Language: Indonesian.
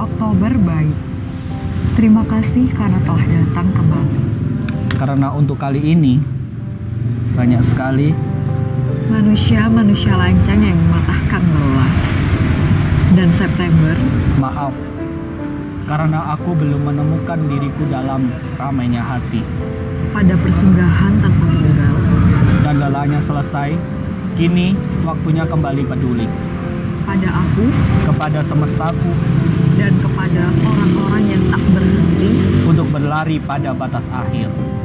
Oktober baik. Terima kasih karena telah datang kembali. Karena untuk kali ini banyak sekali Manusia-manusia lancang yang mematahkan lelah. Dan September, maaf karena aku belum menemukan diriku dalam ramainya hati. pada persinggahan tanpa tunggal. Dagalanya selesai, kini waktunya kembali peduli Pada aku kepada semestaku dan kepada orang-orang yang tak berhenti untuk berlari pada batas akhir.